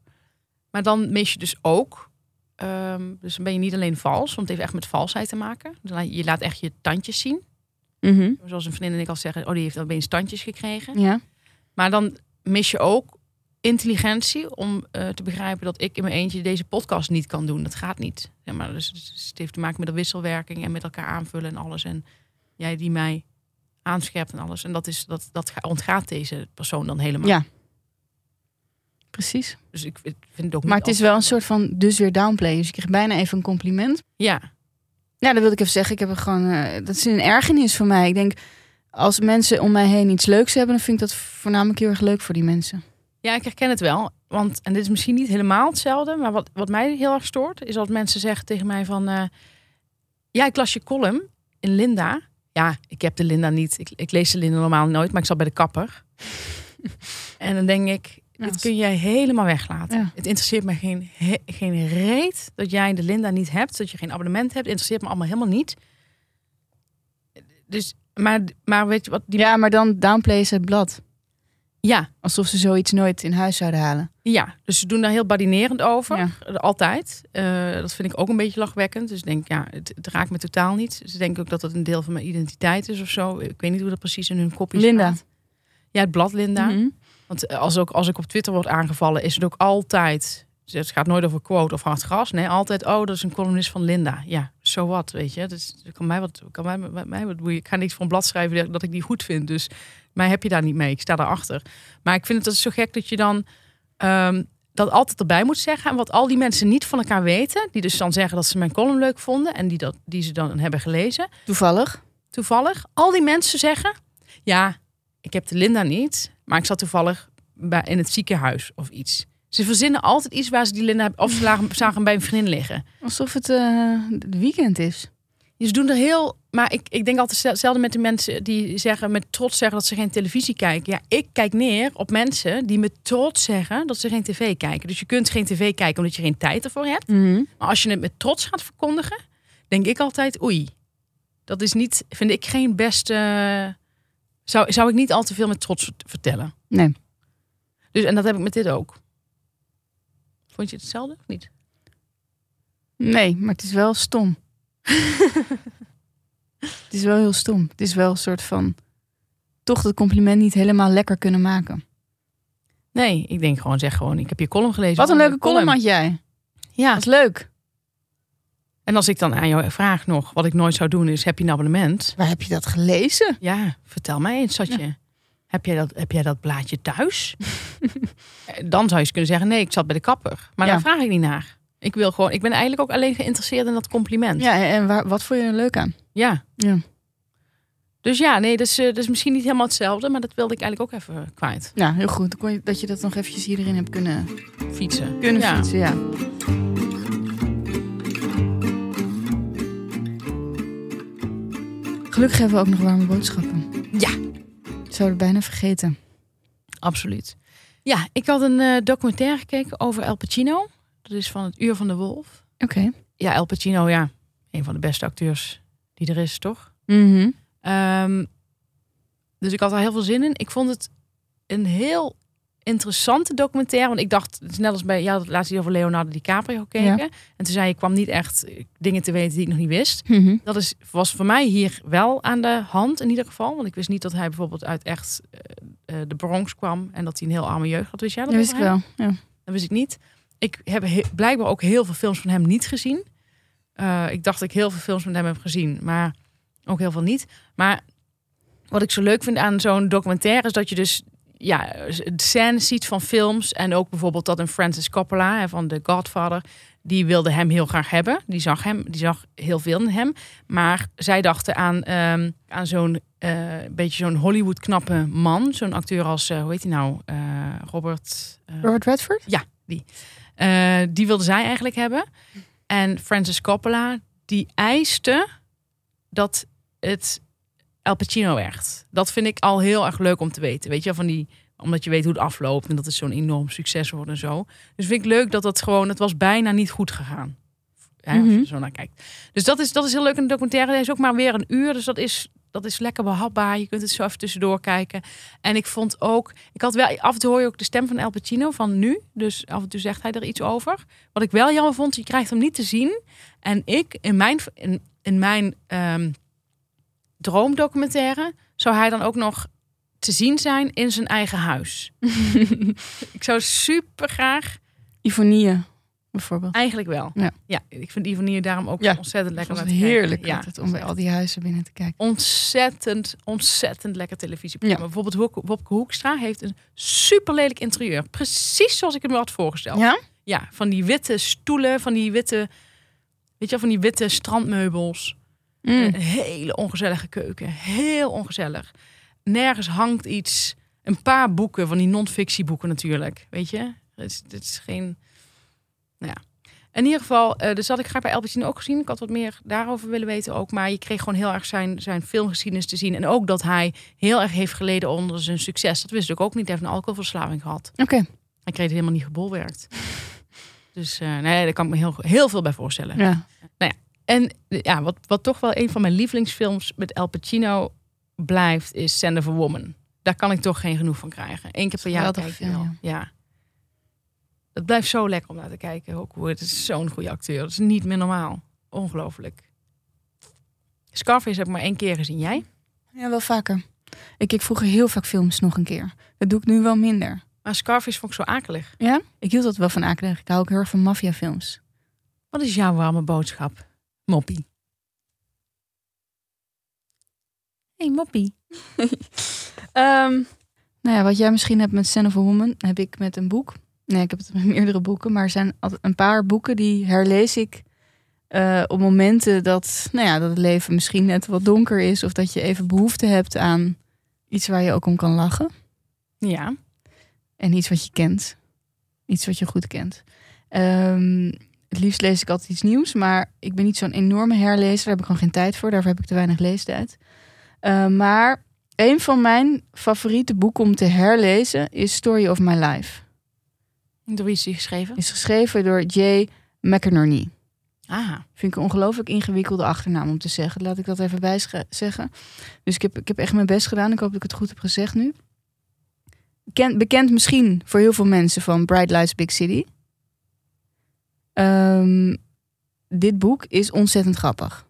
[SPEAKER 1] Maar dan mis je dus ook. ehm, dus dan ben je niet alleen vals, want het heeft echt met valsheid te maken. Dus dan- Je laat echt je tandjes zien. Zoals een vriendin en ik al zeggen, oh, die heeft opeens tandjes gekregen.
[SPEAKER 2] Ja.
[SPEAKER 1] Maar dan mis je ook intelligentie om eh, te begrijpen dat ik in mijn eentje deze podcast niet kan doen. Dat gaat niet. Ja, maar dus, dus het heeft te maken met de wisselwerking en met elkaar aanvullen en alles. En jij die mij aanscherpt en alles. En dat, is, dat, dat ga- ontgaat deze persoon dan helemaal.
[SPEAKER 2] Ja. Precies.
[SPEAKER 1] Dus ik vind vind het ook
[SPEAKER 2] Maar
[SPEAKER 1] niet
[SPEAKER 2] het is wel een soort van dus weer downplayen. Dus je krijgt bijna even een compliment.
[SPEAKER 1] Ja,
[SPEAKER 2] Ja, dat wil ik even zeggen. Ik heb er gewoon, eh, dat is een ergernis voor mij. Ik denk, als mensen om mij heen iets leuks hebben, dan vind ik dat voornamelijk heel erg leuk voor die mensen.
[SPEAKER 1] Ja, ik herken het wel. Want, en dit is misschien niet helemaal hetzelfde, maar wat, wat mij heel erg stoort, is dat mensen zeggen tegen mij van, eh, ja, ik las je column in Linda. Ja, ik heb de Linda niet. Ik, ik lees de Linda normaal nooit, maar ik zat bij de kapper. [LAUGHS] en dan denk ik,
[SPEAKER 2] Ja,
[SPEAKER 1] dit
[SPEAKER 2] dat-
[SPEAKER 1] kun jij helemaal weglaten.
[SPEAKER 2] Ja.
[SPEAKER 1] Het interesseert me geen, he- geen reet dat jij de Linda niet hebt, dat je geen abonnement hebt. Interesseert me allemaal helemaal niet. Dus, maar, maar weet je wat? Die,
[SPEAKER 2] Ja, maar dan downplayen ze het blad.
[SPEAKER 1] ja,
[SPEAKER 2] Alsof ze zoiets nooit in huis zouden halen.
[SPEAKER 1] Ja, dus ze doen daar heel badinerend over. Eh, Altijd. Eh, dat vind ik ook een beetje lachwekkend. Dus ik denk, ja, het, het raakt me totaal niet. Ze denken ook dat het een deel van mijn identiteit is of zo. Ik weet niet hoe dat precies in hun kopje
[SPEAKER 2] Linda.
[SPEAKER 1] staat. Ja, het blad Linda.
[SPEAKER 2] Mhm.
[SPEAKER 1] Want eh, als, ook, als ik op Twitter word aangevallen, is het ook altijd... dus Het gaat nooit over quote of hard gras. Nee, altijd, oh, dat is een columnist van Linda. Ja, zo so wat, weet je. Dus het kan mij wat, kan mij, mij- mij wat boeien. Ik ga niks van blad schrijven dat- dat ik die goed vind. Dus mij heb je daar niet mee. Ik sta daarachter. Maar ik vind het dat zo gek dat je dan ehm, dat altijd erbij moet zeggen. En wat al die mensen niet van elkaar weten, die dus dan zeggen dat ze mijn column leuk vonden en die, dat, die ze dan hebben gelezen,
[SPEAKER 2] Toevallig.
[SPEAKER 1] toevallig. Al die mensen zeggen, ja, ik heb de Linda niet, maar ik zat toevallig bij, in het ziekenhuis of iets. Ze verzinnen altijd iets waar ze die Linda hebben, of ze lagen, zagen hem bij een vriendin liggen.
[SPEAKER 2] Alsof het eh, het weekend is.
[SPEAKER 1] Dus ze doen er heel maar ik, ik denk altijd hetzelfde met de mensen die zeggen, met trots zeggen dat ze geen televisie kijken. Ja, ik kijk neer op mensen die met trots zeggen dat ze geen tv kijken. Dus je kunt geen tv kijken omdat je geen tijd ervoor hebt.
[SPEAKER 2] Mhm.
[SPEAKER 1] Maar als je het met trots gaat verkondigen, denk ik altijd, oei, dat is niet, vind ik geen beste. Zou, zou ik niet al te veel met trots vert- vertellen.
[SPEAKER 2] Nee.
[SPEAKER 1] Dus en dat heb ik met dit ook. Vond je het hetzelfde of niet?
[SPEAKER 2] Nee, maar het is wel [LAUGHS] stom. het is wel heel stom. Het is wel een soort van toch dat compliment niet helemaal lekker kunnen maken.
[SPEAKER 1] Nee, ik denk gewoon, zeg gewoon, ik heb je column gelezen.
[SPEAKER 2] Wat een leuke column had jij.
[SPEAKER 1] Ja.
[SPEAKER 2] Wat leuk.
[SPEAKER 1] En als ik dan aan jou vraag nog, wat ik nooit zou doen, is heb je een abonnement?
[SPEAKER 2] Waar heb je dat gelezen?
[SPEAKER 1] Ja, vertel mij eens, zat je. Heb, jij dat, heb jij dat blaadje
[SPEAKER 2] [LAUGHS]
[SPEAKER 1] thuis? Eh, dan zou je eens kunnen zeggen, nee, ik zat bij de kapper. Maar
[SPEAKER 2] Ja.
[SPEAKER 1] daar vraag ik niet naar. Ik wil gewoon, ik ben eigenlijk ook alleen geïnteresseerd in dat compliment.
[SPEAKER 2] Ja, en en waar, wat vond je er leuk aan?
[SPEAKER 1] Ja.
[SPEAKER 2] Ja.
[SPEAKER 1] Dus ja, nee, dat is, eh, dat is misschien niet helemaal hetzelfde, maar dat wilde ik eigenlijk ook even kwijt.
[SPEAKER 2] Nou, heel goed. Dan kon je- Dat je dat nog eventjes hierin hebt kunnen,
[SPEAKER 1] Fietsen.
[SPEAKER 2] kunnen
[SPEAKER 1] ja.
[SPEAKER 2] fietsen. Ja. Gelukkig hebben we ook nog warme boodschappen.
[SPEAKER 1] Ja.
[SPEAKER 2] Zouden we bijna vergeten.
[SPEAKER 1] Absoluut. Ja, ik had een eh, documentaire gekeken over El Pacino. Dat is van het Uur van de Wolf.
[SPEAKER 2] Oké.
[SPEAKER 1] Ja, El Pacino, ja. Een van de beste acteurs die er is, toch?
[SPEAKER 2] Mhm.
[SPEAKER 1] Ehm, dus ik had daar heel veel zin in. Ik vond het een heel interessante documentaire. Want ik dacht, het is net als bij ja, dat laatste die over Leonardo DiCaprio gekeken. En toen zei je, ik kwam niet echt eh, dingen te weten die ik nog niet wist.
[SPEAKER 2] Mhm.
[SPEAKER 1] Dat is, was voor mij hier wel aan de hand in ieder geval. Want ik wist niet dat hij bijvoorbeeld uit echt eh, eh, de Bronx kwam. En dat hij een heel arme jeugd had. Wist jij dat?
[SPEAKER 2] Dat wist ik
[SPEAKER 1] over hem?
[SPEAKER 2] wel. Ja.
[SPEAKER 1] Dat wist ik niet. Ik heb he- blijkbaar ook heel veel films van hem niet gezien. Eh, ik dacht dat ik heel veel films van hem heb gezien. Maar ook heel veel niet. Maar wat ik zo leuk vind aan zo'n documentaire... is dat je dus ja, scènes ziet van films. En ook bijvoorbeeld dat een Francis Coppola hè, van The Godfather... die wilde hem heel graag hebben. Die zag, hem, die zag heel veel in hem. Maar zij dachten aan, ehm, aan zo'n eh, beetje zo'n Hollywood-knappe man. Zo'n acteur als, eh, hoe heet hij nou? Eh, Robert... eh,
[SPEAKER 2] Robert Redford?
[SPEAKER 1] eh, die wilde zij eigenlijk hebben. En Francis Coppola, die eiste dat het El Pacino werd. Dat vind ik al heel erg leuk om te weten. Weet je, wel, van die, omdat je weet hoe het afloopt en dat het zo'n enorm succes wordt en zo. Dus vind ik leuk dat dat gewoon, het was bijna niet goed gegaan. Hè, Als je
[SPEAKER 2] Mhm.
[SPEAKER 1] er zo naar kijkt. Dus dat is, dat is heel leuk. Een documentaire Hij is ook maar weer een uur. Dus dat is, dat is lekker behapbaar. Je kunt het zo even tussendoor kijken. En ik vond ook, ik had wel, af en toe hoor je ook de stem van El Pacino van nu. Dus af en toe zegt hij er iets over. Wat ik wel jammer vond, je krijgt hem niet te zien. En ik, in mijn, in, in mijn ehm, droomdocumentaire, zou hij dan ook nog te zien zijn in zijn eigen
[SPEAKER 2] [LAUGHS]
[SPEAKER 1] huis. ik zou super graag,
[SPEAKER 2] Ivonie bijvoorbeeld.
[SPEAKER 1] eigenlijk wel.
[SPEAKER 2] Ja.
[SPEAKER 1] ik vind Ivonie daarom ook
[SPEAKER 2] Ja,
[SPEAKER 1] ontzettend lekker.
[SPEAKER 2] Het
[SPEAKER 1] om
[SPEAKER 2] was
[SPEAKER 1] naar te kijken.
[SPEAKER 2] heerlijk altijd om bij al die huizen binnen te kijken.
[SPEAKER 1] ontzettend, ontzettend lekker televisieprogramma. Bijvoorbeeld Wopke- Wopke Hoekstra heeft een super lelijk interieur. Precies zoals ik hem had voorgesteld.
[SPEAKER 2] Ja?
[SPEAKER 1] Ja, van die witte stoelen, van die witte, weet je wel, van die witte strandmeubels.
[SPEAKER 2] Mm.
[SPEAKER 1] Een hele ongezellige keuken. Heel ongezellig. Nergens hangt iets. Een paar boeken, van die non-fictieboeken natuurlijk. Weet je? Het is, het is geen... Nou ja. In ieder geval, eh, dus dat had ik graag bij Albertine ook gezien. Ik had wat meer daarover willen weten ook. Maar je kreeg gewoon heel erg zijn, zijn filmgeschiedenis te zien. En ook dat hij heel erg heeft geleden onder zijn succes. Dat wist ik ook niet. Hij heeft een alcoholverslaving gehad.
[SPEAKER 2] Oké.
[SPEAKER 1] Hij kreeg het helemaal niet gebolwerkt. Dus eh, nee, daar kan ik me heel, heel veel bij voorstellen.
[SPEAKER 2] Ja.
[SPEAKER 1] En eh, ja, wat, wat toch wel een van mijn lievelingsfilms met El Pacino blijft, is Send of a Woman. Daar kan ik toch geen genoeg van krijgen. Eén keer per jaar
[SPEAKER 2] Geweldig
[SPEAKER 1] kijk ik
[SPEAKER 2] film,
[SPEAKER 1] wel. Ja. Het blijft zo lekker om naar te kijken. Ook hoe het is zo'n goede acteur. Het is niet meer normaal. Ongelooflijk. Scarface heb ik maar één keer gezien. Jij?
[SPEAKER 2] ja, wel vaker. Ik keek vroeger heel vaak films nog een keer. Dat doe ik nu wel minder.
[SPEAKER 1] Maar Scarface vond ik zo akelig.
[SPEAKER 2] Ja? Ik hield dat wel van akelig. Ik hou ook heel erg van maffiafilms.
[SPEAKER 1] Wat is jouw warme boodschap? Moppie. hey, Moppie.
[SPEAKER 2] Ehm, nou ja, wat jij misschien hebt met Sen of a Woman, heb ik met een boek. Nee, ik heb het met [LAUGHS] meerdere boeken, maar er zijn altijd een paar boeken die herlees ik eh, op momenten dat, nou ja, dat het leven misschien net wat donker is of dat je even behoefte hebt aan iets waar je ook om kan lachen
[SPEAKER 1] Ja.
[SPEAKER 2] en iets wat je kent, iets wat je goed kent. Ehm, Het liefst lees ik altijd iets nieuws, maar ik ben niet zo'n enorme herlezer. Daar heb ik gewoon geen tijd voor. Daarvoor heb ik te weinig leestijd. Eh, maar een van mijn favoriete boeken om te herlezen is Story of My Life.
[SPEAKER 1] Door wie is die geschreven?
[SPEAKER 2] Is geschreven door J. McInerney.
[SPEAKER 1] Ah,
[SPEAKER 2] Vind ik een ongelooflijk ingewikkelde achternaam om te zeggen. Laat ik dat even bij zeggen. Dus ik heb, ik heb echt mijn best gedaan. Ik hoop dat ik het goed heb gezegd nu. Ken, bekend misschien voor heel veel mensen van Bright Lights Big City. Ehm, dit boek is ontzettend grappig.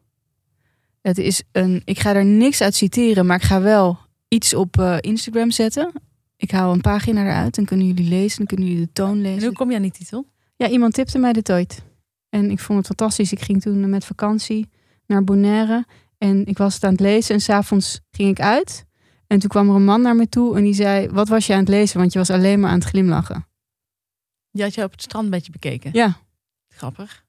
[SPEAKER 2] Het is een, ik ga er niks uit citeren, maar ik ga wel iets op eh, Instagram zetten. Ik haal een pagina eruit, dan kunnen jullie lezen, dan kunnen jullie de toon
[SPEAKER 1] en
[SPEAKER 2] lezen.
[SPEAKER 1] hoe kom je aan die titel?
[SPEAKER 2] Ja, iemand tipte mij dit ooit. En ik vond het fantastisch. Ik ging toen met vakantie naar Bonaire. En ik was het aan het lezen. En s'avonds ging ik uit. En toen kwam er een man naar me toe. En die zei, wat was je aan het lezen? Want je was alleen maar aan het glimlachen.
[SPEAKER 1] Die had je op het strand een beetje bekeken.
[SPEAKER 2] Ja.
[SPEAKER 1] Grappig.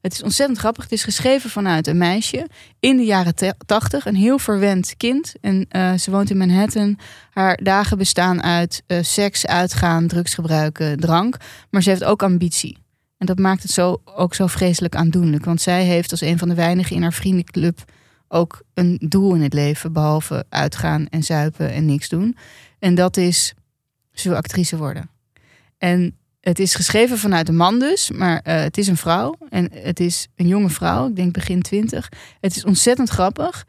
[SPEAKER 2] Het is ontzettend grappig. Het is geschreven vanuit een meisje in de jaren te- 80, Een heel verwend kind. En eh, ze woont in Manhattan. Haar dagen bestaan uit eh, seks, uitgaan, drugs gebruiken, drank. Maar ze heeft ook ambitie. En dat maakt het zo, ook zo vreselijk aandoenlijk. Want zij heeft als een van de weinigen in haar vriendenclub ook een doel in het leven. Behalve uitgaan en zuipen en niks doen. En dat is, ze wil actrice worden. En het is geschreven vanuit een man dus, maar eh, het is een vrouw. En het is een jonge vrouw, ik denk begin twintig. Het is ontzettend grappig,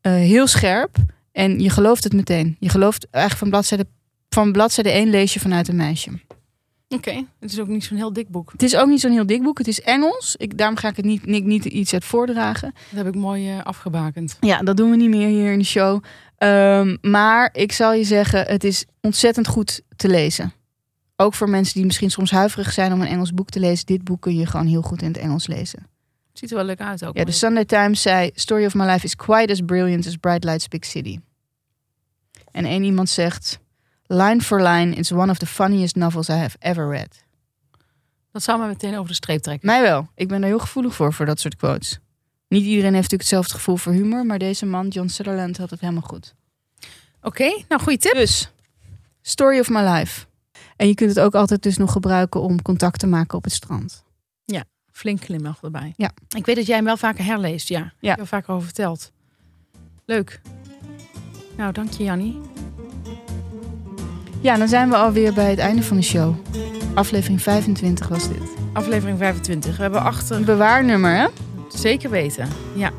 [SPEAKER 2] eh, heel scherp. En je gelooft het meteen. Je gelooft eigenlijk van bladzijde, van bladzijde 1 lees je vanuit een meisje.
[SPEAKER 1] Oké, het is ook niet zo'n heel dik boek.
[SPEAKER 2] Het is ook niet zo'n heel dik boek. Het is Engels. Ik, daarom ga ik het niet, niet, niet iets uit voordragen.
[SPEAKER 1] Dat heb ik mooi eh, afgebakend.
[SPEAKER 2] Ja, dat doen we niet meer hier in de show. Ehm, maar ik zal je zeggen, het is ontzettend goed te lezen. Ook voor mensen die misschien soms huiverig zijn om een Engels boek te lezen. Dit boek kun je gewoon heel goed in het Engels lezen.
[SPEAKER 1] Het ziet er wel leuk uit ook.
[SPEAKER 2] Ja, dus de Sunday Times zei... Story of my life is quite as brilliant as Bright Lights Big City. En één iemand zegt... Line for line, it's one of the funniest novels I have ever read.
[SPEAKER 1] Dat zou me meteen over de streep trekken.
[SPEAKER 2] Mij wel. Ik ben daar heel gevoelig voor, voor dat soort quotes. Niet iedereen heeft natuurlijk hetzelfde gevoel voor humor... maar deze man, John Sutherland, had het helemaal goed.
[SPEAKER 1] Oké, nou goede tip.
[SPEAKER 2] Dus, Story of My Life. En je kunt het ook altijd dus nog gebruiken om contact te maken op het strand.
[SPEAKER 1] Flink glimlach erbij.
[SPEAKER 2] Ja.
[SPEAKER 1] Ik weet dat jij hem wel vaker herleest, ja. Ik heb er vaker over verteld. Leuk. Nou, dank je Jannie.
[SPEAKER 2] Ja, dan zijn we alweer bij het einde van de show. Aflevering 25 was dit.
[SPEAKER 1] Aflevering 25. We hebben achter...
[SPEAKER 2] Een bewaarnummer, hè?
[SPEAKER 1] Zeker weten, ja.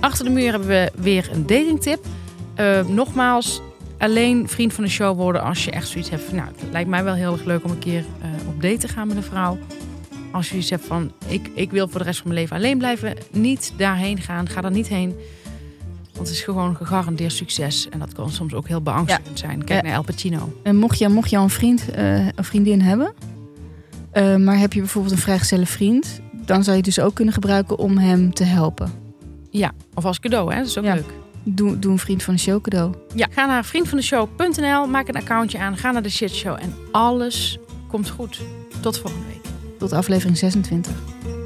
[SPEAKER 1] Achter de muur hebben we weer een datingtip. Eh, nogmaals, alleen vriend van de show worden als je echt zoiets hebt van... Nou, het lijkt mij wel heel erg leuk om een keer eh, op date te gaan met een vrouw. Als je iets hebt van, ik, ik wil voor de rest van mijn leven alleen blijven. Niet daarheen gaan, ga daar niet heen. Want het is gewoon gegarandeerd succes. En dat kan soms ook heel beangstigend zijn. Kijk
[SPEAKER 2] Ja.
[SPEAKER 1] naar El Pacino.
[SPEAKER 2] En mocht je, mocht je al een vriend eh, een vriendin hebben... eh, maar heb je bijvoorbeeld een vrijgezelle vriend... dan zou je het dus ook kunnen gebruiken om hem te helpen.
[SPEAKER 1] Ja, of als cadeau, hè? dat is ook
[SPEAKER 2] Ja.
[SPEAKER 1] leuk.
[SPEAKER 2] Doe, doe een vriend van de show cadeau.
[SPEAKER 1] Ja, ga naar vriendvandeshow.nl, maak een accountje aan, ga naar de shitshow en alles komt goed. Tot volgende week.
[SPEAKER 2] Tot aflevering 26.